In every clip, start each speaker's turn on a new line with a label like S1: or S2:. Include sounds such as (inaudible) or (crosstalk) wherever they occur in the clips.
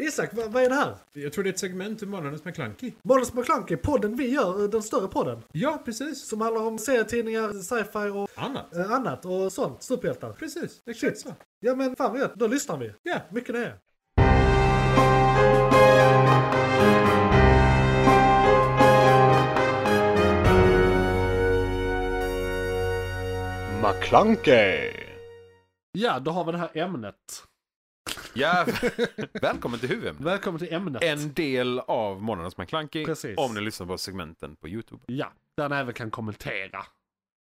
S1: Isak, vad, vad är det här?
S2: Jag tror det är ett segment ur Månadens McKlunky.
S1: Månadens McKlunky, podden vi gör, eh, den större podden.
S2: Ja, precis.
S1: Som handlar om serietidningar, sci-fi och
S2: Annat.
S1: eh, annat och sånt. Superhjältar.
S2: Precis, exakt så.
S1: Ja men fan vad gött, då lyssnar vi.
S2: Ja,
S1: Mycket det.
S3: McClunkey!
S1: Ja, då har vi det här ämnet.
S3: Ja, (laughs) välkommen till huvudämnet.
S1: Välkommen till ämnet.
S3: En del av Månadens McClunky.
S1: Precis.
S3: Om ni lyssnar på segmenten på YouTube.
S1: Ja, där ni även kan kommentera.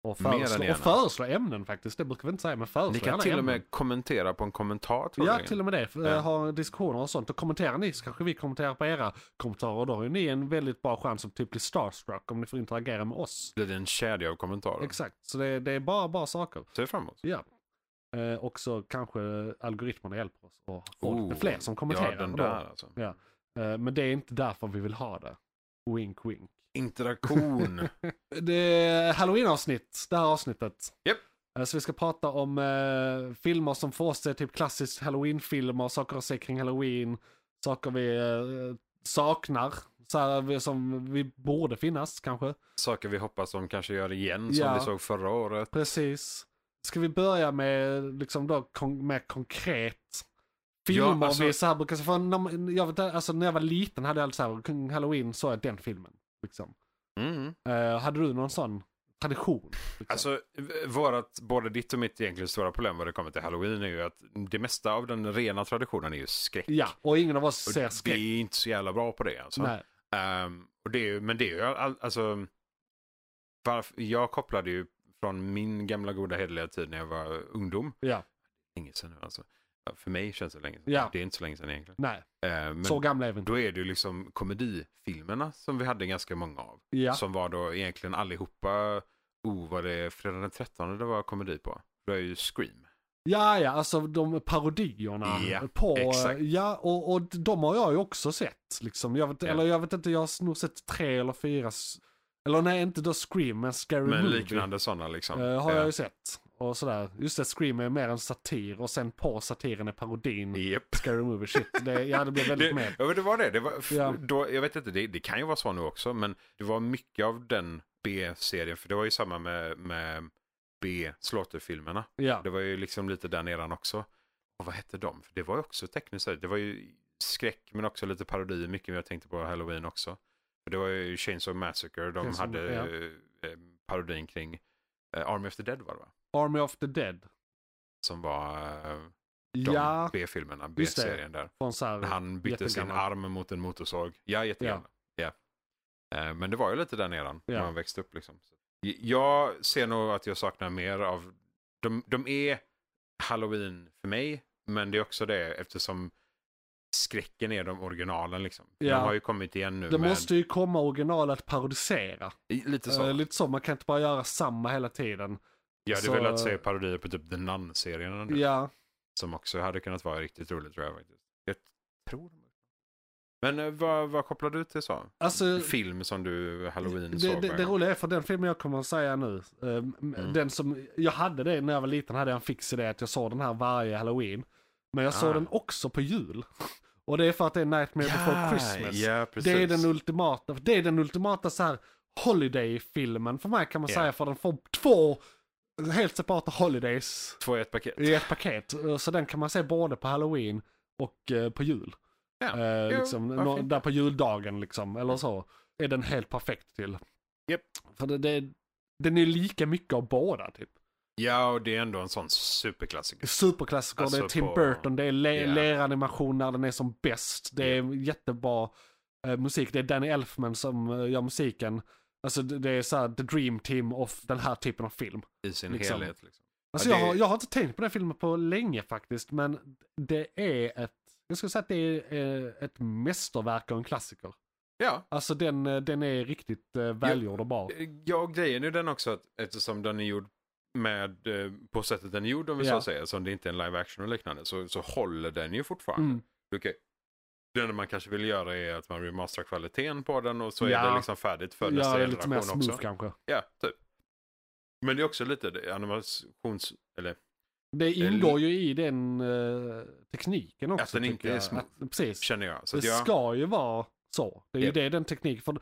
S1: Och
S3: Mer än
S1: föreslå,
S3: gärna.
S1: och föreslå ämnen faktiskt, det brukar vi inte säga, men föreslå
S3: Ni kan
S1: gärna
S3: till och
S1: ämnen.
S3: med kommentera på en kommentar. tror
S1: Ja,
S3: jag.
S1: till och med det. För,
S3: Ja.
S1: eh, Ha diskussioner och sånt. Och kommenterar ni så kanske vi kommenterar på era kommentarer. Och då har ju ni en väldigt bra chans att typ bli starstruck om ni får interagera med oss.
S3: Det är en kedja av kommentarer.
S1: Exakt, så det, det är bara bra saker.
S3: Ser vi fram emot.
S1: Ja. Eh, och så kanske algoritmerna hjälper oss och folk,
S3: Oh,
S1: det är fler som kommenterar.
S3: Ja, den
S1: och då-
S3: där alltså.
S1: Eh, men det är inte därför vi vill ha det. Wink wink.
S3: Interaktion. (laughs)
S1: Det är halloween-avsnitt, det här avsnittet.
S3: Japp.
S1: Eh, Så vi ska prata om eh, filmer som för oss är typ klassiskt halloween-filmer, saker att se kring halloween, saker vi eh, saknar, så här, vi- som vi borde finnas kanske.
S3: Saker vi hoppas de kanske gör igen som
S1: Ja.
S3: vi såg förra året.
S1: Precis. Ska vi börja med liksom då kon- mer konkret? Filmer
S3: Ja, alltså-
S1: vi så här brukar, för när, man- jag, vet inte, alltså, när jag var liten hade jag alltid så här, kring halloween såg jag den filmen. Liksom.
S3: Mm.
S1: Eh, hade du någon sån tradition? Liksom?
S3: Alltså, v- vårat, både ditt och mitt egentligen stora problem vad det kommer till halloween är ju att det mesta av den rena traditionen är ju skräck.
S1: Ja, och ingen av oss
S3: Och
S1: ser skräck.
S3: Vi är inte så jävla bra på det alltså.
S1: Nej.
S3: Ehm, och det är, ju- men det är ju all, alltså. Varför, jag kopplade ju från min gamla goda hederliga tid när jag var ungdom.
S1: Ja,
S3: Länge sedan nu alltså. Ja, För mig känns det länge sedan.
S1: Ja.
S3: Det är inte så länge sedan egentligen.
S1: nej.
S3: Ehm, men
S1: Så gamla är vi inte.
S3: då är det ju liksom komedifilmerna som vi hade ganska många av.
S1: Ja,
S3: Som var då egentligen allihopa, oh var det fredag den 13 det var komedi på? Det var ju Scream.
S1: ja, ja alltså de parodierna
S3: Ja,
S1: på...
S3: exakt.
S1: Ja, och, och de har jag ju också sett. Liksom. Jag vet,
S3: Ja.
S1: Eller jag vet inte, jag har nog sett tre eller fyra... s- Eller nej, inte då Scream, men Scary
S3: Men
S1: Movie.
S3: liknande sådana liksom.
S1: eh, har jag
S3: Eh,
S1: ju sett. Och sådär. Just det, Scream är mer en satir och sen på satiren är parodin.
S3: Japp.
S1: Scary Movie, shit. Det, ja, det blir väldigt
S3: Det,
S1: mer.
S3: ja, men det var det. det var, f-
S1: Ja.
S3: då, jag vet inte, det, det kan ju vara så nu också, men det var mycket av den B-serien, för det var ju samma med, med B-slåterfilmerna.
S1: Ja,
S3: Det var ju liksom lite där nedan också. Och vad hette de? För det var ju också tekniskt sett, det var ju skräck men också lite parodi, mycket mer jag tänkte på halloween också. För det var ju Chains of Massacre, de
S1: Chainsaw-
S3: hade
S1: ja.
S3: eh, eh, parodin kring eh, Army of the Dead var det va?
S1: Army of the Dead.
S3: Som var eh, de
S1: Ja,
S3: B-filmerna,
S1: just det.
S3: B-serien där.
S1: från såhär...
S3: När han bytte sin
S1: jättegammal.
S3: arm mot en motorsåg. Ja, jättegammal. Ja. Eh, Men det var ju lite där nedan
S1: Ja.
S3: när man växte upp. Liksom. Så- J- Jag ser nog att jag saknar mer av... De, de är halloween för mig, men det är också det eftersom skräcken är de originalen. Liksom.
S1: Ja.
S3: De har ju kommit igen nu
S1: Det
S3: med
S1: måste ju komma original att parodisera.
S3: i- lite så.
S1: Eh, lite så, man kan inte bara göra samma hela tiden.
S3: jag hade
S1: så-
S3: velat se parodier på typ The Nun-serien ändå,
S1: Ja,
S3: som också hade kunnat vara riktigt roligt tror jag. Faktiskt. Jag tror de men eh, vad, vad kopplar du till så?
S1: alltså...
S3: Film som du halloween
S1: Det,
S3: såg? Mm.
S1: det,
S3: varje
S1: det
S3: gång?
S1: roliga är för den filmen jag kommer att säga nu, eh, m- den som, jag hade det när jag var liten, hade jag en fix idé att jag såg den här varje halloween. Men jag såg
S3: Ah.
S1: den också på jul. (laughs) Och det är för att det är Nightmare before Christmas.
S3: Ja, precis.
S1: det är den ultimata, det är den ultimata så här holiday-filmen för mig kan man
S3: Ja.
S1: säga, för den får två helt separata holidays
S3: Två i ett paket.
S1: i ett paket. Eh, Så den kan man se både på halloween och eh, på jul.
S3: Ja,
S1: Eh,
S3: jo,
S1: liksom,
S3: varför
S1: nå-
S3: inte?
S1: där på juldagen liksom, eller så. Är den helt perfekt till.
S3: Japp.
S1: För det, det, den är lika mycket av båda typ.
S3: Ja, och det är ändå en sån superklassiker.
S1: Superklassiker, det är
S3: Alltså,
S1: Tim
S3: på-
S1: Burton, det är le-
S3: Ja.
S1: leranimation när den är som bäst. Det är jättebra eh, musik. Det är Danny Elfman som eh, gör musiken. Alltså det, det är såhär the dream team of den här typen av film.
S3: I sin
S1: Liksom.
S3: helhet. Liksom.
S1: Alltså
S3: Ja,
S1: jag,
S3: det-
S1: har, jag har inte tänkt på den filmen på länge faktiskt, men det är ett, jag skulle säga att det är eh, ett mästerverk och en klassiker.
S3: Ja,
S1: Alltså den, eh, den är riktigt eh, välgjord och bra.
S3: ja, och grejen är den också att eftersom den är gjord med, eh, på sättet den är gjord om vi
S1: Ja.
S3: så säger, som det inte är en live action och liknande, så, så håller den ju fortfarande.
S1: Mm.
S3: Okej. Det enda man kanske vill göra är att man remasterar kvaliteten på den och så är
S1: Ja.
S3: det liksom färdigt för
S1: Ja,
S3: nästa
S1: det är lite mer
S3: generation
S1: smooth
S3: också.
S1: kanske.
S3: Ja, typ. Men det är också lite det- animations... Eller
S1: Det ingår ju i den eh, tekniken också.
S3: Att den inte
S1: tycker jag.
S3: är små.
S1: Att- Precis.
S3: känner jag. Så
S1: Det
S3: att jag
S1: ska ju vara så. Det är ju
S3: Japp.
S1: det den tekniken. För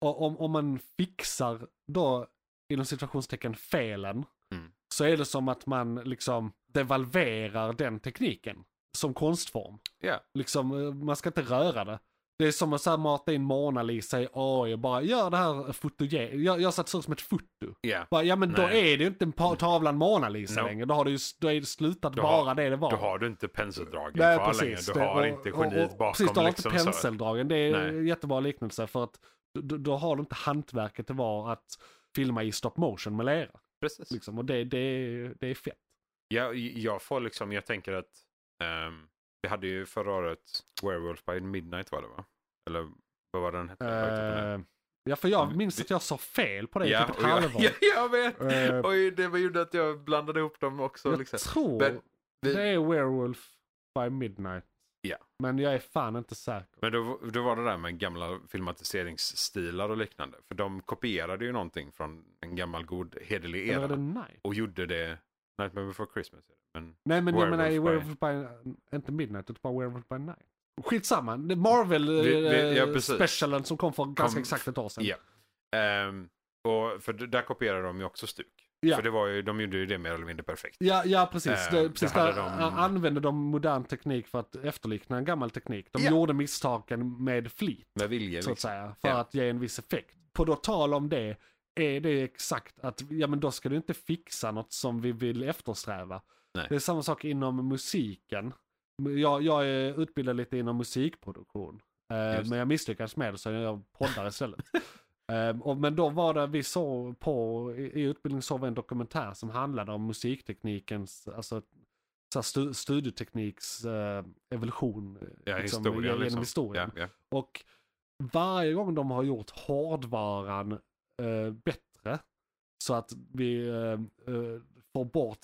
S1: och om, om man fixar då inom situationstecken felen.
S3: Mm.
S1: Så är det som att man liksom devalverar den tekniken. Som konstform.
S3: Ja.
S1: Liksom, eh, man ska inte röra det. Det är som att så här mata in Mona Lisa i AI och bara gör det här fotogen. Jag, jag satt så som ett foto.
S3: ja,
S1: Bara, ja men då
S3: Nej.
S1: är det ju inte en pa- tavlan Mona Lisa
S3: No.
S1: längre. Då har det ju då är det slutat
S3: Då har-
S1: vara det det var.
S3: då har du inte penseldragen
S1: Nej,
S3: kvar längre.
S1: precis.
S3: Du
S1: Det-
S3: har
S1: och-
S3: inte
S1: och- och-
S3: geniet bakom.
S1: Precis, du har
S3: liksom,
S1: inte
S3: så.
S1: penseldragen. Det är
S3: Nej.
S1: en jättebra liknelse för att då, då har du inte hantverket det var att filma i stop motion med lera.
S3: Precis.
S1: Liksom. Och det, det, det är fett.
S3: Jag, jag får liksom, jag tänker att ehm, vi hade ju förra året Werewolf by Midnight var det va? Eller vad var den hette? Vad hette den här?
S1: Eh, ja, för jag
S3: Mm,
S1: minns
S3: det-
S1: att jag sa fel på det i
S3: ja,
S1: typ ett
S3: och jag,
S1: halvår.
S3: (laughs) ja, jag vet!
S1: Eh,
S3: Oj, det var- gjorde att jag blandade ihop dem också.
S1: jag
S3: liksom.
S1: tror
S3: Men vi-
S1: det är Werewolf by Midnight.
S3: Ja.
S1: Men jag är fan inte säker.
S3: Men då, då var det där med gamla filmatiseringsstilar och liknande. För de kopierade ju någonting från en gammal god hederlig
S1: Eller
S3: era.
S1: är det Night?
S3: Och gjorde det Nightmare before Christmas. Men
S1: Nej men jag
S3: Werewolf
S1: menar i
S3: by-
S1: Werewolf by... Inte Midnight utan bara Werewolf by Night. Skitsamma, det är Marvel
S3: Vi- vi- ja,
S1: eh,
S3: precis.
S1: specialen som kom för ganska exakt ett år sedan.
S3: ja. ehm, och för d- där kopierade de ju också stuk.
S1: Ja.
S3: För det var ju, de gjorde ju det mer eller mindre perfekt.
S1: Ja, ja precis.
S3: Eh,
S1: det,
S3: det
S1: precis
S3: hade
S1: där
S3: de-
S1: a- använde de modern teknik för att efterlikna en gammal teknik. De
S3: Ja.
S1: gjorde misstagen med flit,
S3: Med vilje.
S1: så
S3: Liksom.
S1: att säga, för
S3: Ja.
S1: att ge en viss effekt. På då tal om det, är det exakt att, ja men då ska du inte fixa något som vi vill eftersträva.
S3: Nej.
S1: Det är samma sak inom musiken. Jag, jag är utbildad lite inom musikproduktion. Eh,
S3: Just.
S1: men jag misslyckades med det så jag poddar istället. (laughs) Ehm, och, men då var det, vi såg på, i, i utbildningen såg vi en dokumentär som handlade om musikteknikens, alltså så här, stu, studiotekniks eh, evolution. eh,
S3: Ja,
S1: liksom,
S3: historia
S1: genom
S3: liksom.
S1: historien.
S3: Ja, ja.
S1: Och varje gång de har gjort hårdvaran eh, bättre så att vi eh, eh, får bort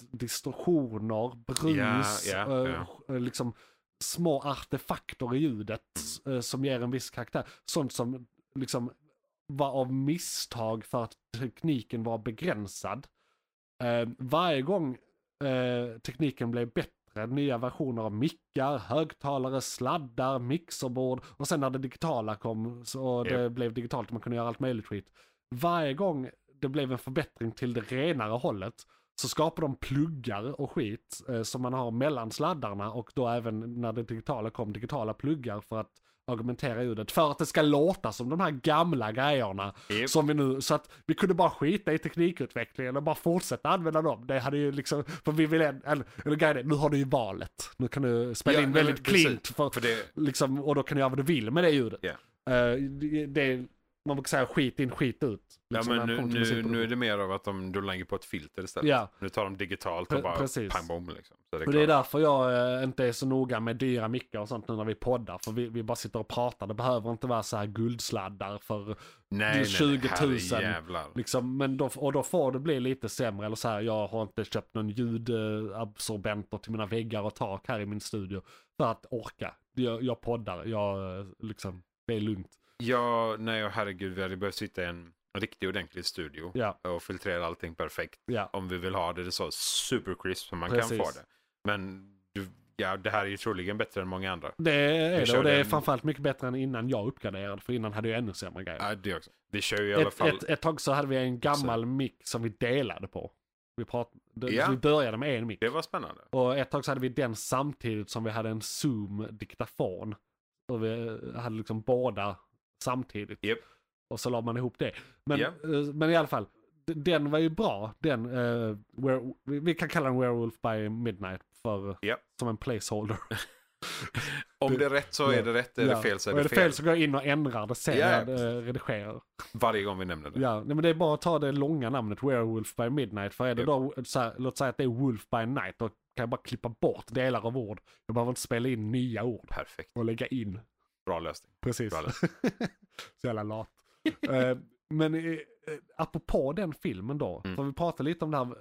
S1: distorsioner, brus,
S3: Ja, ja,
S1: eh, eh, liksom små artefakter i ljudet
S3: Mm.
S1: eh, som ger en viss karaktär. Sånt som liksom var av misstag för att tekniken var begränsad. Eh, varje gång eh, tekniken blev bättre, nya versioner av mickar, högtalare, sladdar, mixerbord och sen när det digitala kom så det blev digitalt och man kunde göra allt möjligt skit. Varje gång det blev en förbättring till det renare hållet så skapar de pluggar och skit eh, som man har mellan sladdarna och då även när det digitala kom digitala pluggar för att argumentera ljudet för att det ska låta som de här gamla grejerna
S3: Japp.
S1: som vi nu, så att vi kunde bara skita i teknikutvecklingen och bara fortsätta använda dem. Det hade ju liksom, för vi vill, en- eller, eller grejen är, nu har du ju valet. Nu kan du spela
S3: Ja,
S1: in
S3: nej, men
S1: väldigt
S3: precis.
S1: klint för,
S3: För det,
S1: liksom, och då kan du göra vad du vill med det ljudet.
S3: Ja.
S1: Eh, det, det, man brukar säga skit in, skit ut.
S3: ja,
S1: liksom,
S3: men
S1: när det
S3: nu,
S1: kommer till
S3: nu,
S1: musikproduktion.
S3: nu är det mer av att de, de lägger på ett filter istället.
S1: Ja.
S3: Nu tar de digitalt
S1: Pre-
S3: och bara
S1: precis.
S3: pang bom. Liksom. Så det är
S1: Och det är
S3: klart.
S1: därför jag eh, inte är så noga med dyra mickar och sånt nu när vi poddar. För vi, vi bara sitter och pratar. Det behöver inte vara så här guldsladdar för
S3: nej, nej,
S1: 20 000
S3: Nej, herrejävlar.
S1: liksom, men då, och då får det bli lite sämre. Eller så här, jag har inte köpt någon ljudabsorbenter till mina väggar och tak här i min studio. För att orka. Jag, jag poddar, jag eh, liksom, det är lugnt.
S3: Ja, nej, och herregud, vi hade behövt sitta i en riktig ordentlig studio
S1: Ja,
S3: och filtrera allting perfekt.
S1: ja.
S3: Om vi vill ha det, det är så supercrisp som man
S1: Precis.
S3: kan få det. Men du, ja, det här är ju troligen bättre än många andra.
S1: Det är det
S3: kör
S1: och det är
S3: den-
S1: framförallt mycket bättre än innan jag uppgraderade. För innan hade jag ännu sämre grejer.
S3: Ja, det också. Vi kör ju i alla
S1: ett,
S3: fall.
S1: ett, ett tag så hade vi en gammal mick som vi delade på. Vi, prat, det-
S3: Ja.
S1: vi började med en mick.
S3: Det var spännande.
S1: Och ett tag så hade vi den samtidigt som vi hade en Zoom-diktafon. Och vi hade liksom båda samtidigt.
S3: Japp.
S1: Och så la man ihop det. Men,
S3: Ja.
S1: eh, men i alla fall, d- den var ju bra. Den, eh, where, vi vi kan kalla den Werewolf by Midnight för,
S3: Japp.
S1: som en
S3: (laughs)
S1: placeholder.
S3: Om det är rätt så är det rätt, är
S1: Ja.
S3: det fel så är
S1: och
S3: det,
S1: är det fel så går jag in och ändrar det sen
S3: Ja,
S1: när jag
S3: precis.
S1: eh, redigerar.
S3: Varje gång vi nämner det.
S1: Ja, nej, men det är bara att ta det långa namnet Werewolf by Midnight. För är det
S3: Japp.
S1: då, så här, låt säga att det är Wolf by Night, då kan jag bara klippa bort delar av ord. Jag behöver inte spela in nya ord
S3: Perfekt,
S1: och lägga in.
S3: bra lösning.
S1: Precis.
S3: Bra lösning.
S1: (laughs) Så jävla lat. Eh, men eh, eh, apropå den filmen då,
S3: Mm.
S1: för vi pratade lite om det här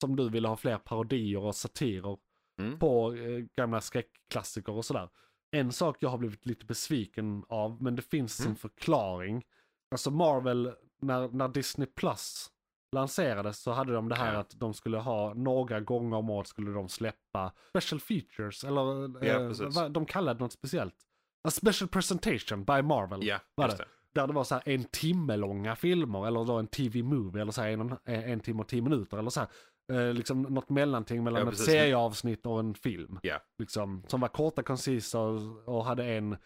S1: som du ville ha fler parodier och satirer
S3: Mm.
S1: på eh, gamla skräckklassiker och sådär. En sak jag har blivit lite besviken av, men det finns en
S3: Mm.
S1: förklaring. Alltså Marvel, när, när Disney Plus lanserades så hade de det här
S3: Ja.
S1: att de skulle ha några gånger om året skulle de släppa special features eller
S3: Ja,
S1: eh,
S3: precis.
S1: vad- de kallade det något speciellt. A special presentation by Marvel.
S3: Ja,
S1: Var
S3: just
S1: det?
S3: det.
S1: Där det var så här en timme långa filmer eller då en TV-movie eller så här en, och en, en timme och tio minuter eller så här. Eh, liksom något mellanting mellan
S3: Ja,
S1: ett
S3: precis.
S1: serieavsnitt och en film.
S3: Ja.
S1: Liksom, som var korta, koncisa och, och hade en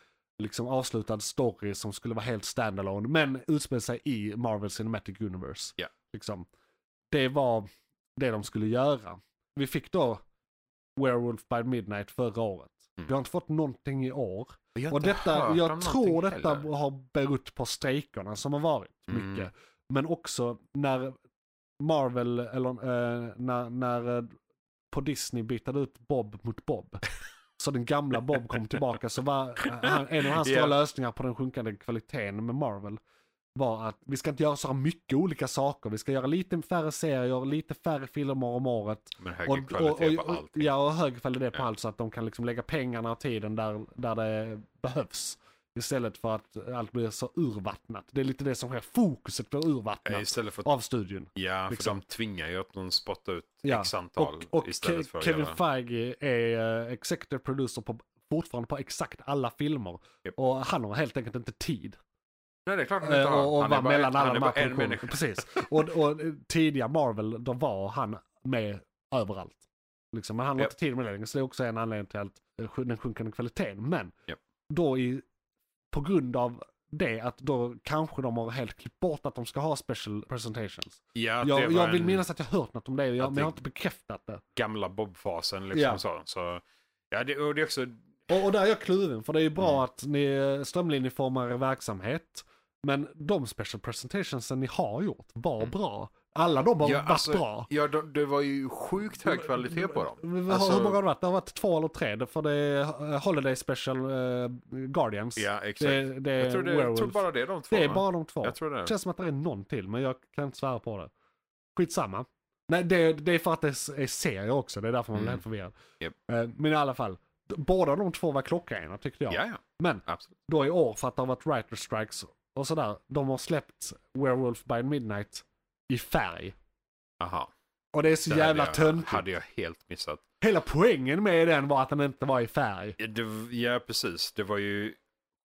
S1: liksom avslutad story som skulle vara helt standalone men utspelade sig i Marvel Cinematic Universe.
S3: Ja.
S1: Liksom, det var det de skulle göra. Vi fick då Werewolf by Midnight förra året.
S3: Mm.
S1: Vi har inte fått någonting i år.
S3: Jag har
S1: Och
S3: inte
S1: detta,
S3: hört
S1: jag
S3: om någonting
S1: tror detta
S3: heller.
S1: har berott på strejkerna som har varit
S3: Mm.
S1: mycket. Men också när Marvel, eller eh, när, när eh, på Disney bytade ut Bob mot Bob. Så den gamla Bob kom tillbaka så var eh, han, en av hans
S3: Ja.
S1: stora lösningar på den sjunkande kvaliteten med Marvel var att vi ska inte göra så här mycket olika saker. Vi ska göra lite färre serier, lite färre filmer om året.
S3: Men högre kvalitet på allt.
S1: Ja, och hög kvalitet på
S3: Ja.
S1: allt så att de kan liksom lägga pengarna och tiden där, där det behövs. Istället för att allt blir så urvattnat. Det är lite det som sker, fokuset blir urvattnat
S3: Eh, Istället för att,
S1: av studion.
S3: ja, för
S1: liksom.
S3: de tvingar ju att de spottar ut
S1: Ja,
S3: x antal
S1: Och, och
S3: istället
S1: Ke-
S3: för att
S1: Kevin
S3: göra...
S1: Feige är eh, executive producer på, fortfarande på exakt alla filmer.
S3: Japp.
S1: Och han har helt enkelt inte tid.
S3: Nej, det är klart han inte
S1: Eh,
S3: har.
S1: Och, och
S3: han är
S1: vara
S3: bara,
S1: mellan alla
S3: han är
S1: de här
S3: bara en människa.
S1: produktionerna. Precis. Och, och eh, tidiga Marvel, då var han med överallt. Liksom, men han har
S3: Japp.
S1: inte tid med det längre, så det är också en anledning till att eh, sj- den sjunkande kvaliteten. Men
S3: Japp.
S1: då i, på grund av det att då kanske de har helt klippt bort att de ska ha special presentations.
S3: Ja, det
S1: Jag,
S3: var
S1: jag vill
S3: en-
S1: minnas att jag hört något om det, jag,
S3: att
S1: men jag har
S3: det-
S1: inte bekräftat det.
S3: gamla bobfasen liksom
S1: Ja.
S3: så. så ja, det, och det är också,
S1: Och, och där är jag kluven, för det är ju bra
S3: Mm.
S1: att ni strömlinjeformar er verksamhet. Men de special presentationsen ni har gjort var bra. Alla de har
S3: Mm. Ja,
S1: varit
S3: alltså,
S1: bra.
S3: ja de, det var ju sjukt hög kvalitet på dem.
S1: Hur-
S3: Alltså-
S1: Hur många har det varit? Det har varit två eller tre. det- För det är eh, Holiday Special eh, Guardians.
S3: Ja, exakt.
S1: det, det är
S3: jag, tror det, jag
S1: Werewolf.
S3: tror bara det är de två.
S1: det är
S3: va?
S1: bara de två.
S3: Jag tror det.
S1: Det känns som att det är någon till, men jag kan inte svära på det. Skitsamma. Nej, det, det är för att det är serier också. Det är därför man blir
S3: Mm.
S1: helt förvirrad.
S3: Japp.
S1: Eh, Men i alla fall. d- Båda de två var klockrena tyckte jag.
S3: Ja, ja.
S1: Men
S3: Absolut.
S1: då i år för att det har varit writer strikes och sådär. De har släppt Werewolf by Midnight i färg.
S3: Aha.
S1: Och det är så
S3: Det
S1: jävla
S3: hade jag,
S1: töntigt.
S3: hade jag helt missat.
S1: Hela poängen med den var att den inte var i färg.
S3: Ja, det, ja, precis. Det var ju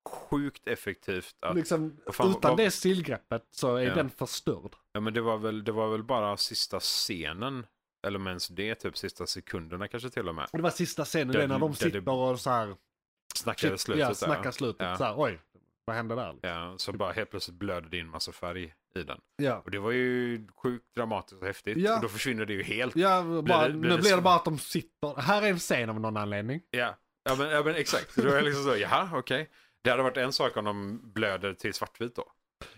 S3: sjukt effektivt att...
S1: Liksom,
S3: Vad fan,
S1: utan
S3: vad-
S1: det stilgreppet så är
S3: Ja.
S1: den förstörd.
S3: Ja, men det var, väl, det var väl bara sista scenen. Eller men ens det, typ sista sekunderna kanske till och med.
S1: Och det var sista scenen
S3: Där-
S1: där, när de
S3: där
S1: sitter
S3: det-
S1: och så här,
S3: Snackade slutet
S1: ja,
S3: där.
S1: snackar slutet.
S3: Ja.
S1: Så här, oj, vad hände där?
S3: Ja, så bara helt plötsligt blöder det in massa färg i den.
S1: Ja,
S3: Och det var ju sjukt dramatiskt och häftigt.
S1: Ja.
S3: Och då försvinner det ju helt.
S1: ja bara,
S3: det- blir
S1: nu
S3: det
S1: blir det
S3: så?
S1: bara att de sitter. Här är en scen av någon anledning.
S3: Ja, ja, men, ja men exakt. Då är jag liksom så, jaha, okej. Det hade varit en sak om de blöder till svartvit då.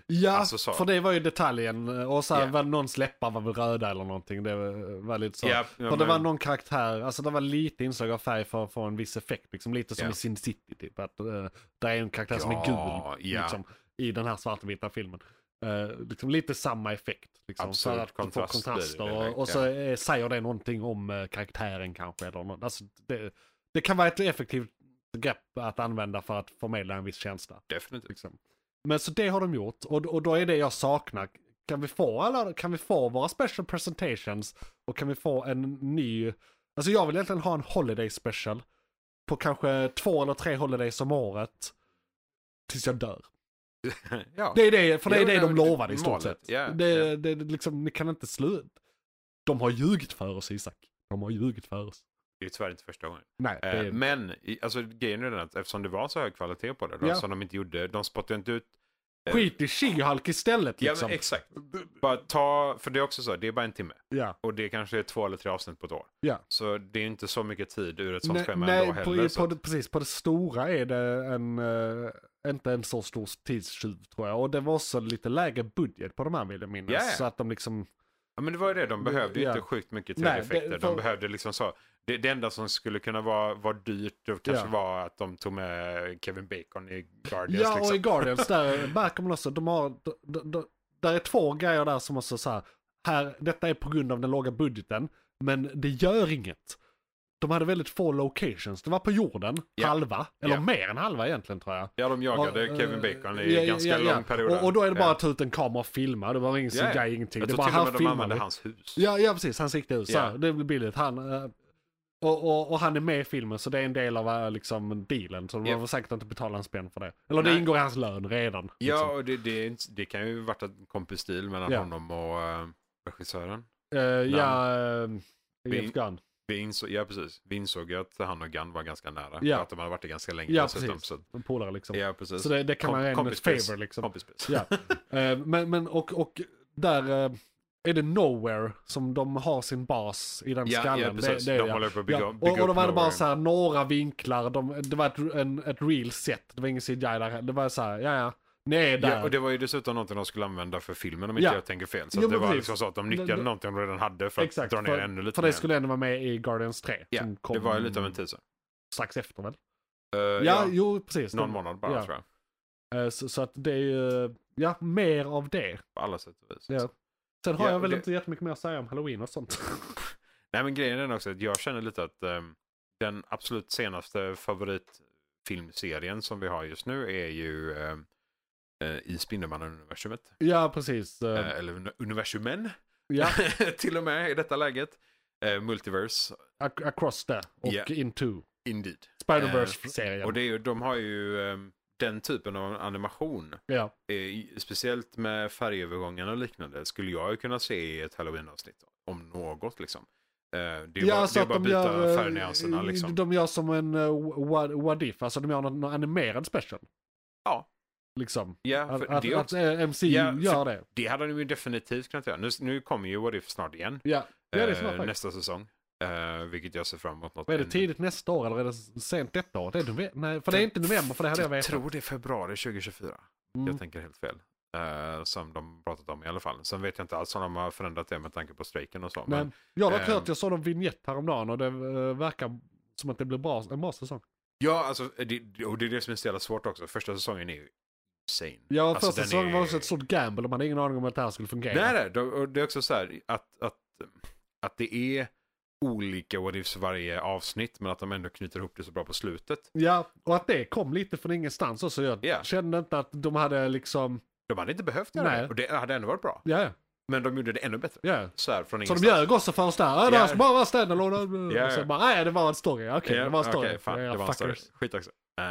S1: Ja,
S3: Alltså så.
S1: för det var ju detaljen. Och så här,
S3: Ja.
S1: var någons läppar var väl röda eller någonting. Det var var lite så.
S3: Ja, ja,
S1: för det
S3: men-
S1: var någon karaktär, alltså det var lite inslag av färg för att få en viss effekt. Liksom, lite som
S3: Ja.
S1: i Sin City, typ. Att, eh, där är en karaktär som är gul
S3: ja.
S1: liksom, i den här svartvita filmen. Eh, liksom lite samma effekt. Liksom,
S3: Absolut,
S1: för att
S3: kontrast
S1: få
S3: blir det
S1: kontraster.
S3: direkt,
S1: och, och så eh, säger det någonting om eh, karaktären kanske. Eller något. Alltså, det, det kan vara ett effektivt grepp att använda för att förmedla en viss känsla. (laughs)
S3: Definitivt.
S1: Liksom. Men så det har de gjort och, och då är det jag saknar. Kan vi få alla, kan vi få våra special presentations och kan vi få en ny, alltså jag vill egentligen ha en holiday special på kanske två eller tre holidays om året. Tills jag dör.
S3: ja.
S1: Det är det, för det är
S3: Jo,
S1: det
S3: nej,
S1: de
S3: men
S1: lovade i stort
S3: målet,
S1: sett.
S3: ja,
S1: det,
S3: ja.
S1: det, det liksom, ni kan inte sluta. De har ljugit för oss Isak. De har ljugit för oss.
S3: Det är ju tyvärr inte första gången.
S1: Nej, det
S3: Eh,
S1: är...
S3: Men i- alltså, grejen är den att eftersom det var så hög kvalitet på det, då,
S1: Ja.
S3: som de inte gjorde, de spottade inte ut.
S1: skit i She-Hulk istället
S3: Ja,
S1: liksom.
S3: men exakt. Bara ta, för det är också så, det är bara en timme.
S1: ja.
S3: Och det kanske är två eller tre avsnitt på ett år.
S1: Ja.
S3: Så det är inte så mycket tid ur ett sånt
S1: Nej,
S3: schema
S1: nej
S3: ändå
S1: på,
S3: heller. så
S1: på,
S3: att-
S1: det, precis. På det stora är det en, eh, inte en så stor tidstjuv tror jag. Och det var också lite lägre budget på de här vill jag minnas.
S3: Ja, ja.
S1: Så att de liksom,
S3: Ja men det var ju det, de behövde ju
S1: Ja.
S3: inte sjukt mycket
S1: Nej, det-
S3: tv-effekter.
S1: för-
S3: De behövde liksom så, det, det enda som skulle kunna vara, vara dyrt det kanske
S1: Ja.
S3: var att de tog med Kevin Bacon i Guardians.
S1: ja och
S3: liksom.
S1: i Guardians där märker man också, de har, d- d- d- där är två grejer där som också så här, här, detta är på grund av den låga budgeten, men det gör inget. de hade väldigt få locations. Det var på jorden,
S3: Ja.
S1: halva. Eller
S3: Ja.
S1: mer än halva egentligen tror jag.
S3: Ja, de jagade
S1: Och,
S3: Kevin
S1: eh,
S3: Bacon i
S1: ja, ja,
S3: ganska
S1: ja, ja.
S3: lång period.
S1: Och, och då är det bara
S3: Ja.
S1: att ta ut en kamera och filma. Det var ingen
S3: Ja, ja.
S1: CGI, ingenting.
S3: Jag
S1: det är
S3: tror
S1: bara
S3: till och
S1: här
S3: med de
S1: filmar
S3: använde
S1: vi.
S3: hans hus.
S1: Ja, ja, precis. Hans riktiga hus.
S3: Ja.
S1: Yeah. Det blir billigt. Han, eh, och, och, och han är med i filmen så det är en del av eh, liksom, dealen. Så de
S3: Ja.
S1: har väl säkert inte betalat en spänn för det. Eller det
S3: Nej.
S1: ingår i hans lön redan. liksom.
S3: Ja, och det, det, är inte- det kan ju varit en kompisstil mellan
S1: Ja.
S3: honom och eh, regissören.
S1: Eh, ja, eh, Jeff Gunn.
S3: Vi insåg, ja, precis. Vi insåg ju att han och Gunn var ganska nära.
S1: Ja.
S3: För att de hade varit det ganska länge
S1: Ja,
S3: dessutom,
S1: precis.
S3: Så, att-
S1: En polare liksom.
S3: ja, precis.
S1: Så det, det kan
S3: Kom-
S1: man vara en
S3: kompispris.
S1: favor liksom.
S3: Kompispris.
S1: Ja.
S3: (laughs)
S1: Eh, men, men och, och där eh, är det Nowhere som de har sin bas i den
S3: Ja,
S1: skallen.
S3: ja, precis.
S1: Det, det,
S3: de
S1: ja.
S3: håller på att bygga,
S1: Ja, och,
S3: bygga
S1: och
S3: upp
S1: de hade bara
S3: Norway.
S1: så här några vinklar, de, det var ett, en, ett real set, det var ingen CGI där, det var så här, ja ja, ni är där.
S3: Ja, och det var ju dessutom någonting de skulle använda för filmen om
S1: Ja.
S3: inte jag tänker fel. Så
S1: Ja,
S3: att det
S1: men
S3: var
S1: precis.
S3: liksom så att de
S1: Det-
S3: nyttjade
S1: det-
S3: någonting de redan hade för att
S1: Exakt,
S3: dra ner
S1: för-
S3: ännu lite
S1: För det
S3: mer.
S1: skulle ändå vara med i Guardians 3.
S3: Ja,
S1: som kom
S3: Det var ju lite av en tidsel.
S1: Strax efter väl?
S3: Eh,
S1: Ja,
S3: ja,
S1: jo precis.
S3: någon
S1: De-
S3: månad bara
S1: ja.
S3: tror jag.
S1: eh, Så, så att det är ju, ja, mer av det.
S3: På alla sätt och vis.
S1: Ja. Sen har
S3: Ja,
S1: jag väl
S3: det-
S1: inte jättemycket mer att säga om halloween och sånt. (laughs)
S3: Nej men grejen är den också att jag känner lite att ehm, den absolut senaste favoritfilmserien som vi har just nu är ju ehm, eh, i Spindelmannen-universumet.
S1: ja, precis. eh,
S3: Eh, eller uni- universumen
S1: ja,
S3: (laughs) till och med i detta läget. Eh, Multiverse,
S1: ac- across det och
S3: Ja.
S1: into.
S3: indeed.
S1: Spider-Verse-serien.
S3: Och det är ju, de har ju ehm, den typen av animation.
S1: ja.
S3: Eh, i- speciellt med färgövergångarna och liknande skulle jag ju kunna se i ett halloween-avsnitt. Om något liksom. Eh, det är ju bara, det är bara byta
S1: eh,
S3: färgnyanserna liksom.
S1: De gör som en uh, what, what if, alltså de gör någon, någon animerad special.
S3: Ja.
S1: Liksom.
S3: Ja,
S1: Att,
S3: för
S1: att,
S3: det, är
S1: att
S3: också,
S1: eh, MCU
S3: Ja, för-
S1: gör det.
S3: det hade de ju definitivt kunnat göra. Nu, nu kommer ju What If snart igen.
S1: Ja, ja det är
S3: eh,
S1: smart faktiskt.
S3: nästa säsong. Eh, vilket jag ser fram emot. Något
S1: Men Är det
S3: ännu.
S1: tidigt nästa år eller är det sent detta år? Det är nove- Nej, för det är inte november för det hade jag
S3: Jag
S1: vetat.
S3: tror det är februari 2024.
S1: Mm.
S3: Jag tänker helt fel. Eh, som de pratat om i alla fall. Sen vet jag inte alls om de har förändrat det med tanke på strejken och så.
S1: Men jag har dock
S3: ehm,
S1: hört, jag såg en vignett häromdagen och det eh, verkar som att det blir bra, en bra säsong.
S3: Ja, alltså, det, och det är det som är så jävla svårt också. Första säsongen är ju insane.
S1: Ja,
S3: alltså,
S1: första
S3: den
S1: säsongen var
S3: är-
S1: också ett stort gamble och man hade ingen aning om att det här skulle fungera.
S3: Nej, nej, det, och det är också så här att, att, att det är olika what ifs varje avsnitt men att de ändå knyter ihop det så bra på slutet.
S1: Ja, och att det kom lite från ingenstans också. Jag
S3: Ja.
S1: kände inte att de hade liksom,
S3: De hade inte behövt göra
S1: Nej.
S3: det och det hade ändå varit bra.
S1: ja, ja,
S3: Men de gjorde det ännu bättre.
S1: ja.
S3: Så här från
S1: Så de
S3: ingenstans.
S1: ljög också för oss där. Ja, det här
S3: Ja.
S1: ska bara vara standalone.
S3: Ja,
S1: Yeah. Så
S3: ja.
S1: bara, nej det var en story. Okej, det var en story.
S3: okej, fan,
S1: Ja,
S3: det var en story.
S1: fuckers.
S3: Skit också. Eh,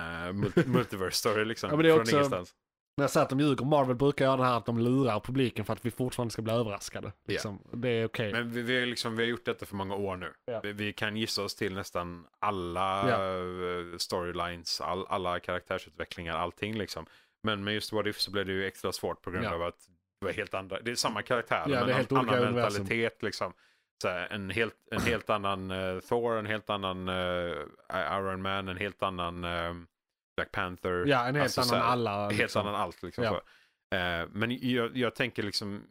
S1: (laughs)
S3: mul- multiverse story liksom.
S1: Ja, men det är
S3: från
S1: också-
S3: ingenstans.
S1: När jag säger att de ljuger, Marvel brukar göra det här att de lurar publiken för att vi fortfarande ska bli överraskade. Liksom. Det är okej.
S3: Men vi, vi, har liksom, vi har gjort detta för många år nu.
S1: Ja.
S3: Vi, vi kan gissa oss till nästan alla
S1: Ja.
S3: eh, storylines, all, alla karaktärsutvecklingar, allting liksom. Men med just What If så blev det ju extra svårt på grund
S1: Ja.
S3: av att det var helt andra, det är samma karaktär
S1: Ja,
S3: men
S1: det är
S3: en
S1: helt
S3: annan
S1: olika universum.
S3: mentalitet liksom. Så här, en, helt, en helt annan eh, Thor, en helt annan eh, Iron Man, en helt annan eh, Black Panther.
S1: Ja, en helt
S3: Alltså, så
S1: annan
S3: här,
S1: alla.
S3: Helt
S1: liksom.
S3: annan allt liksom.
S1: Ja.
S3: Så. Eh, men jag, jag tänker liksom,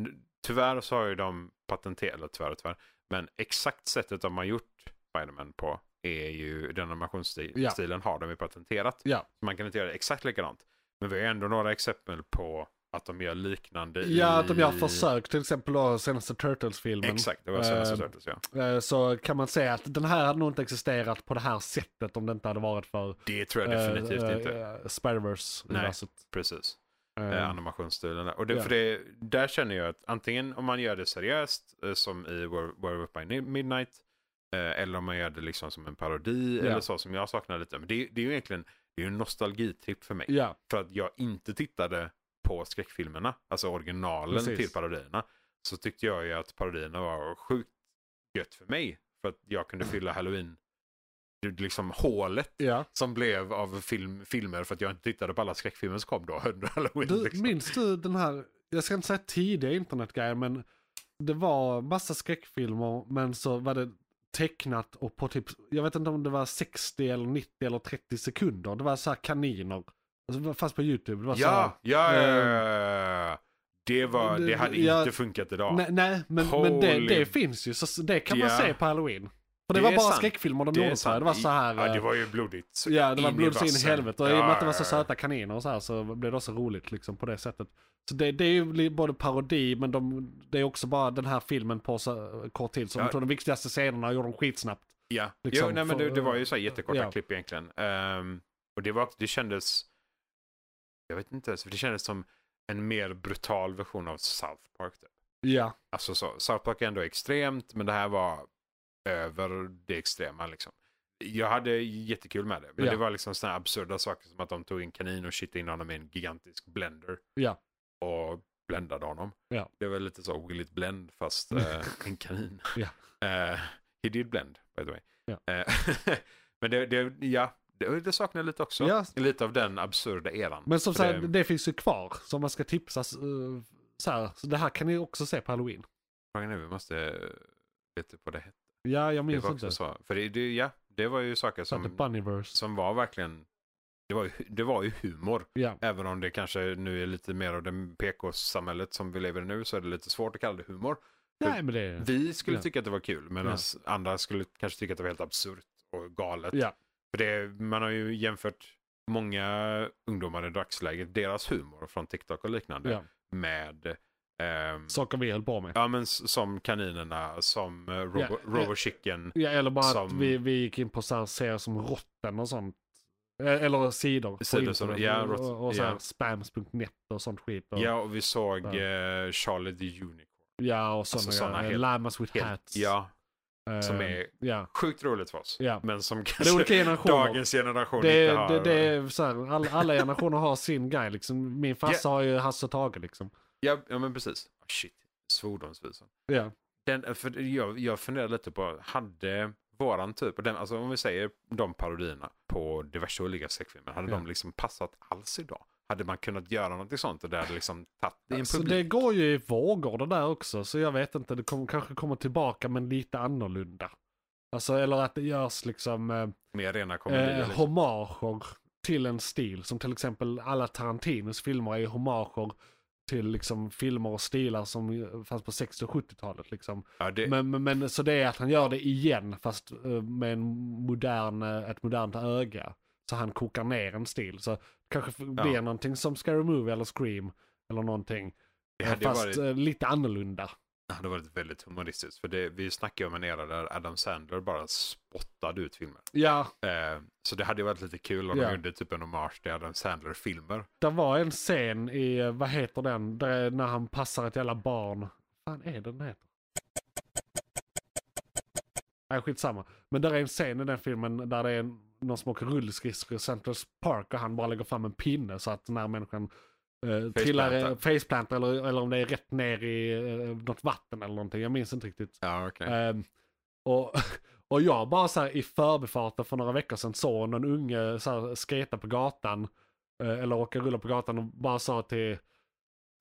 S3: n- tyvärr så har ju de patenterat, eller tyvärr och tyvärr, men exakt sättet de har gjort Spiderman på är ju, den animationsstilen
S1: Ja.
S3: har de ju patenterat.
S1: Ja.
S3: Man kan inte göra det exakt likadant. Men vi har ju ändå några exempel på att de gör liknande i...
S1: Ja, att de gör försök. Till exempel då senaste Turtles-filmen.
S3: Exakt, det var senaste
S1: Eh,
S3: Turtles, ja.
S1: Eh, Så kan man säga att den här hade nog inte existerat på det här sättet om det inte hade varit för
S3: Det tror jag definitivt
S1: eh,
S3: inte.
S1: eh, Spider-Verse.
S3: Nej.
S1: universet.
S3: Precis.
S1: Eh,
S3: eh, animationsstilen. där. Och det,
S1: Ja.
S3: för det, där känner jag att antingen om man gör det seriöst eh, som i War, War of by Ni- Midnight eh, eller om man gör det liksom som en parodi
S1: Ja.
S3: eller så som jag saknar lite. Men det, det är ju egentligen det är ju en nostalgitripp för mig.
S1: Ja,
S3: För att jag inte tittade på skräckfilmerna, alltså originalen
S1: Precis.
S3: till parodierna. Så tyckte jag ju att parodierna var sjukt gött för mig. För att jag kunde fylla halloween, det- liksom hålet
S1: ja.
S3: som blev av film, filmer för att jag inte tittade på alla skräckfilmer som kom då under (laughs) halloween.
S1: Du,
S3: liksom.
S1: minns du den här, jag ska inte säga tidiga internetgrejen men det var massa skräckfilmer men så var det tecknat och på typ, jag vet inte om det var 60 eller 90 eller 30 sekunder. Det var så här kaniner. Alltså, Fast på YouTube. Det var så här,
S3: Ja, ja, ja,
S1: eh,
S3: ja, ja, ja. Det, var,
S1: det-
S3: det hade
S1: ja,
S3: inte funkat idag.
S1: Nej, nej men, men det,
S3: Holy-
S1: det finns ju. Så det kan
S3: Ja.
S1: man se på halloween. För det,
S3: Det
S1: var
S3: är
S1: bara
S3: sant.
S1: skräckfilmer de
S3: det,
S1: gjorde
S3: är
S1: så här.
S3: sant.
S1: Det var så här.
S3: Ja, det
S1: eh,
S3: var ju blodigt. så
S1: Ja, det var
S3: in i
S1: blod så in i
S3: vassen.
S1: helvete. Och i och med att det var så
S3: Ja,
S1: söta kaniner och så här så blev det också roligt liksom på det sättet. Så det, det är ju li- både parodi men de, det är också bara den här filmen på så kort tid. Så de
S3: Ja.
S1: tog de viktigaste scenerna och gjorde dem skitsnabbt.
S3: Ja,
S1: Liksom,
S3: jo, nej, men
S1: för-
S3: det, det var ju så här jättekorta
S1: ja.
S3: klipp egentligen. Ehm, och det, var, det kändes, jag vet inte ens, för det kändes som en mer brutal version av South Park. Typ.
S1: Ja,
S3: Alltså så, South Park är ändå extremt, men det här var över det extrema liksom. Jag hade jättekul med det, men
S1: Ja.
S3: det var liksom sådana absurda saker som att de tog en kanin och kittade in honom i en gigantisk blender.
S1: Ja.
S3: Och bländade honom.
S1: Ja.
S3: Det var lite så Will it blend
S1: (laughs)
S3: fast eh, en kanin.
S1: Ja.
S3: Eh, he did blend, by the way.
S1: Ja.
S3: Eh, (laughs) men det, det, ja, det, det saknar lite också.
S1: Ja.
S3: Lite av den absurda eran.
S1: men som
S3: För
S1: sagt,
S3: det-
S1: det... det finns ju kvar. Så om man ska tipsa eh, så här. Så det här kan ni också se på halloween.
S3: Frågan är, vi måste eh, lite på det
S1: Ja, jag
S3: Det
S1: minns
S3: var
S1: inte.
S3: också så. För det, det, ja, det var ju saker
S1: Så att The
S3: som,
S1: Bunnyverse.
S3: som var verkligen, det var, ju, det var ju humor.
S1: Ja,
S3: Även om det kanske nu är lite mer av det PK-samhället som vi lever i nu så är det lite svårt att kalla det humor.
S1: nej men det...
S3: Vi skulle
S1: Ja.
S3: tycka att det var kul medan andra skulle kanske tycka att det var helt absurt och galet.
S1: Ja,
S3: För det, man har ju jämfört många ungdomar i dagsläget, deras humor från TikTok och liknande
S1: ja.
S3: med ehm,
S1: Saker vi höll på med.
S3: Ja men s- som kaninerna, som eh, Robo,
S1: Ja, ja.
S3: Robo Chicken.
S1: Ja, eller bara att
S3: Som-
S1: vi, vi gick in på så här serier som Rotten och sånt. Eh, Eller sidor. på
S3: Sidor som-
S1: internet.
S3: ja, Rotten,
S1: och, och så här
S3: ja.
S1: spams.net och sånt skit. Och,
S3: Ja, och vi såg
S1: Ja.
S3: eh, Charlie the Unicorn.
S1: ja, och sådana
S3: Alltså såna
S1: grejer.
S3: helt-
S1: Lamas with
S3: Helt-
S1: hats.
S3: Ja,
S1: Eh,
S3: som är-
S1: Ja.
S3: sjukt roligt för oss.
S1: Ja.
S3: Men som (laughs)
S1: Det är
S3: kanske
S1: olika generationer.
S3: dagens generation
S1: Det,
S3: inte har.
S1: det, det är så här, alla, alla generationer har sin guy liksom. Min farsa har ju Hasse och Tage liksom.
S3: Ja, ja, men precis. Ah, Shit, svordomsvisan.
S1: Ja,
S3: Den, eh, för jag, jag funderar lite på, hade våran typ, och den, alltså om vi säger de parodierna på diverse olika skräckfilmer, hade
S1: Ja.
S3: de liksom passat alls idag? Hade man kunnat göra någonting sånt och det hade liksom tagit i en
S1: så
S3: publik?
S1: Alltså, det går ju i vågor det där också. Så jag vet inte, det kommer- kanske kommer tillbaka men lite annorlunda. Alltså eller att det görs liksom eh,
S3: Mer rena komedier.
S1: eh,
S3: liksom.
S1: hommager till en stil. Som till exempel alla Tarantinos filmer är hommager till liksom filmer och stilar som eh, fanns på 60 och 70-talet. Liksom.
S3: ja, det,
S1: Men, men, men så det är att han gör det igen fast eh, med en modern, eh, ett modernt öga. Så han kokar ner en stil. Så kanske f- blir någonting som Scary Movie eller Scream eller någonting.
S3: det hade ju
S1: fast
S3: varit
S1: eh, lite annorlunda.
S3: Det hade varit väldigt humoristiskt. För det, vi snackar ju om en era där Adam Sandler bara spottade ut filmer.
S1: Ja,
S3: Eh, så det hade ju varit lite kul om
S1: Ja.
S3: de gjorde typ en hommage till Adam Sandler-filmer.
S1: det var en scen i, eh, vad heter den, där, när han passar ett jävla barn. Vad fan är den heter? Nej, skitsamma. Men där är en scen i den filmen där det är en, någon som åker rullskridskor i Central Park och han bara lägger fram en pinne så att den här människan eh, trillar, faceplantar eller, eller om det är rätt ner i eh, något vatten eller någonting. Jag minns inte riktigt.
S3: Ja, okej.
S1: Ehm, och, (laughs) och jag bara så här i förbifarten för några veckor sedan såg någon unge så här skata på gatan. eh, Eller åka rulla på gatan och bara sa till,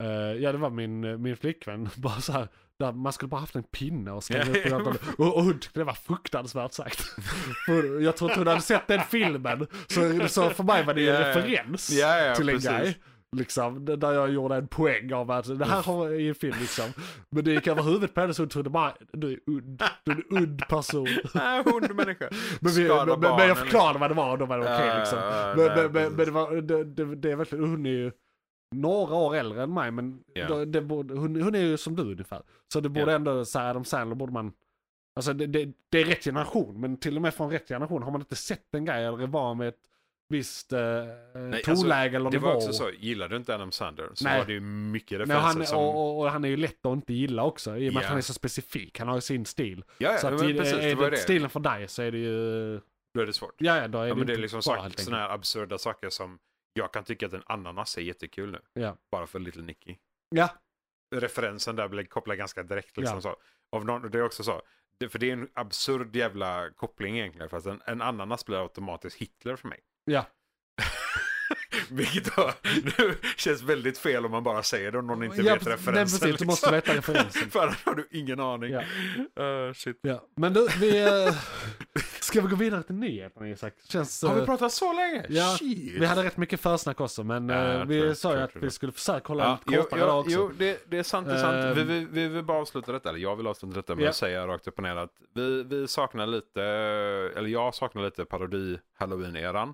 S1: eh, ja det var min, min flickvän, (laughs) bara så här, där man skulle bara haft en pinne och slänga ut på
S3: (laughs)
S1: gatan. Och, och hon tyckte det var fruktansvärt sagt. (laughs) För jag tror inte hon hade sett den filmen. Så, så för mig var det ju en
S3: Ja, ja.
S1: referens
S3: Ja, ja,
S1: till en
S3: precis.
S1: guy. Liksom, där jag gjorde en poäng av att det här har i en film liksom. Men det gick över huvudet på henne så hon trodde bara du är udd, du är en udd person.
S3: (laughs) (laughs) Nej, hund och människa.
S1: (laughs) Men, vi,
S3: Skada
S1: men, men
S3: barnen, liksom.
S1: jag förklarade vad det var och då var det okej
S3: Ja,
S1: liksom.
S3: ja, ja,
S1: Men, men,
S3: nej,
S1: men,
S3: eh, precis.
S1: men det, var, det, det, det är verkligen, hon är ju några år äldre än mig men
S3: Ja.
S1: då- det borde, hon, hon är ju som du ungefär. Så det borde
S3: Ja.
S1: ändå, så här, Adam Sandler borde man, alltså det, det, det är rätt generation men till och med från rätt generation har man inte sett en grej eller är van med ett visst eh, tonläge
S3: alltså,
S1: eller
S3: Det
S1: nivå.
S3: var också så, gillade du inte Adam Sandler så
S1: Nej.
S3: var det ju mycket
S1: Nej, och,
S3: referenser
S1: han,
S3: som...
S1: och, och, och han är ju lätt att inte gilla också i och med att
S3: Ja.
S1: han är så specifik. Han har ju sin stil.
S3: ja,
S1: Så
S3: ja,
S1: att
S3: men
S1: i-
S3: precis, det
S1: är
S3: var ju
S1: det
S3: det.
S1: stilen för dig så är det ju...
S3: Då är det svårt.
S1: Ja, ja, då är
S3: Ja,
S1: det
S3: men det är
S1: inte
S3: liksom
S1: bra helt enkelt.
S3: sådana här absurda saker som jag kan tycka att en ananas är jättekul nu.
S1: Ja.
S3: Bara för Little Nicky.
S1: Ja,
S3: referensen där blev kopplad ganska direkt. Liksom,
S1: Ja.
S3: så. Av någon, det är också så. Det, för det är en absurd jävla koppling egentligen. För att en, en ananas blir automatiskt Hitler för mig.
S1: ja.
S3: (laughs) Vilket då, nu känns väldigt fel om man bara säger det och någon inte
S1: ja,
S3: vet
S1: precis.
S3: referensen. liksom.
S1: Nej, precis, du måste veta referensen.
S3: (laughs) för annars har du ingen aning.
S1: Ja.
S3: Eh, shit.
S1: ja. Men du, vi... eh, Ska vi gå vidare till nyheterna Isak? Känns...
S3: Har vi
S1: eh,
S3: pratat så länge?
S1: ja,
S3: shit.
S1: vi hade rätt mycket försnack också men
S3: Ja,
S1: eh,
S3: jag tror-
S1: vi sa ju
S3: tror-
S1: att
S3: tror
S1: vi
S3: det.
S1: skulle försöka hålla
S3: Ja,
S1: lite
S3: jo,
S1: kortare idag
S3: jo,
S1: också.
S3: jo det, det är sant. Det är sant. Vi,
S1: Ehm.
S3: vi, vi vill bara avsluta detta. Eller jag vill avsluta detta med
S1: Ja.
S3: att säga rakt upp och ner att vi, vi saknar lite, eller jag saknar lite parodi halloween-eran.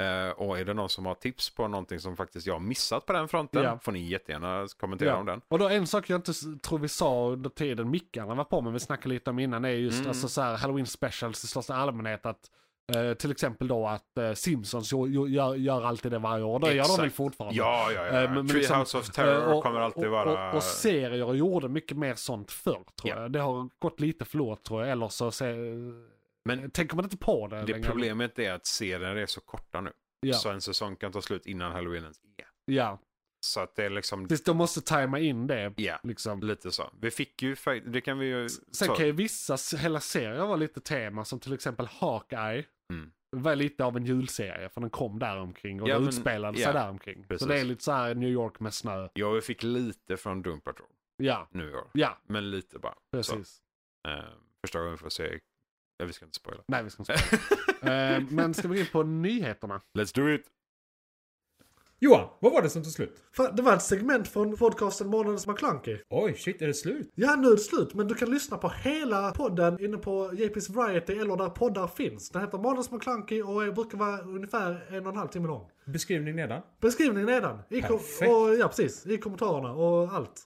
S3: Eh, och är det någon som har tips på någonting som faktiskt jag har missat på den fronten
S1: Ja.
S3: får ni jättegärna kommentera
S1: Ja.
S3: om den.
S1: Och då en sak jag inte s- tror vi sa under tiden mickarna var på, men vi snackade lite om innan, är just
S3: Mm.
S1: alltså så här halloween specials i största allmänhet. Att, eh, till exempel då att eh, Simpsons jo, jo, gör, gör alltid det varje år. Det gör de väl
S3: Exakt.
S1: fortfarande.
S3: Ja, ja, ja.
S1: Eh, men- men
S3: Treehouse
S1: liksom,
S3: of Terror
S1: Eh, och-
S3: kommer alltid
S1: och,
S3: vara...
S1: Och, och serier gjorde mycket mer sånt förr tror
S3: Ja.
S1: jag. Det har gått lite förlorat tror jag. Eller så se, eh,
S3: Men-
S1: tänker man inte på det.
S3: det
S1: längre.
S3: problemet är att serierna är så korta nu.
S1: Ja.
S3: Så en säsong kan ta slut innan halloween ens är.
S1: ja.
S3: Så att det är liksom...
S1: Tills De måste tajma in det.
S3: Ja,
S1: Liksom.
S3: lite så. Vi fick ju... fa- Det kan vi ju...
S1: Sen
S3: så-
S1: kan ju vissa s- hela serier vara lite tema. Som till exempel Hawkeye.
S3: Mm.
S1: Var lite av en julserie. För den kom däromkring. Och
S3: Ja,
S1: den
S3: men-
S1: utspelade
S3: ja.
S1: sig däromkring.
S3: Precis.
S1: Så det är lite så här New York med snö.
S3: Ja, vi fick lite från Doom Patrol
S1: Ja,
S3: nu i år.
S1: ja
S3: Men lite bara.
S1: precis.
S3: Så, eh, första gången vi får se... Ja, vi ska inte spoila.
S1: Nej, vi ska
S3: (laughs)
S1: inte spoila. Eh, Men ska vi gå in på nyheterna?
S3: Let's do it!
S2: Johan, vad var det som tog slut?
S4: Fan, Det var ett segment från podcasten Månadens McKlunky.
S2: Oj, shit, är det slut?
S4: Ja, nu är det slut, men du kan lyssna på hela podden inne på JP's Variety eller där poddar finns. Den heter Månadens McKlunky och brukar vara ungefär en och en halv timme lång.
S2: Beskrivning nedan.
S4: Beskrivningen nedan. I kom-
S2: Perfekt.
S4: och, ja, precis. I kommentarerna och allt.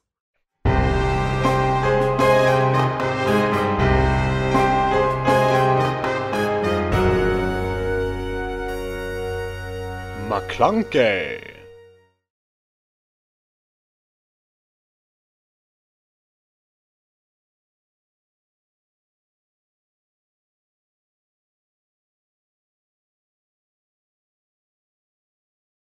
S1: McClunkey!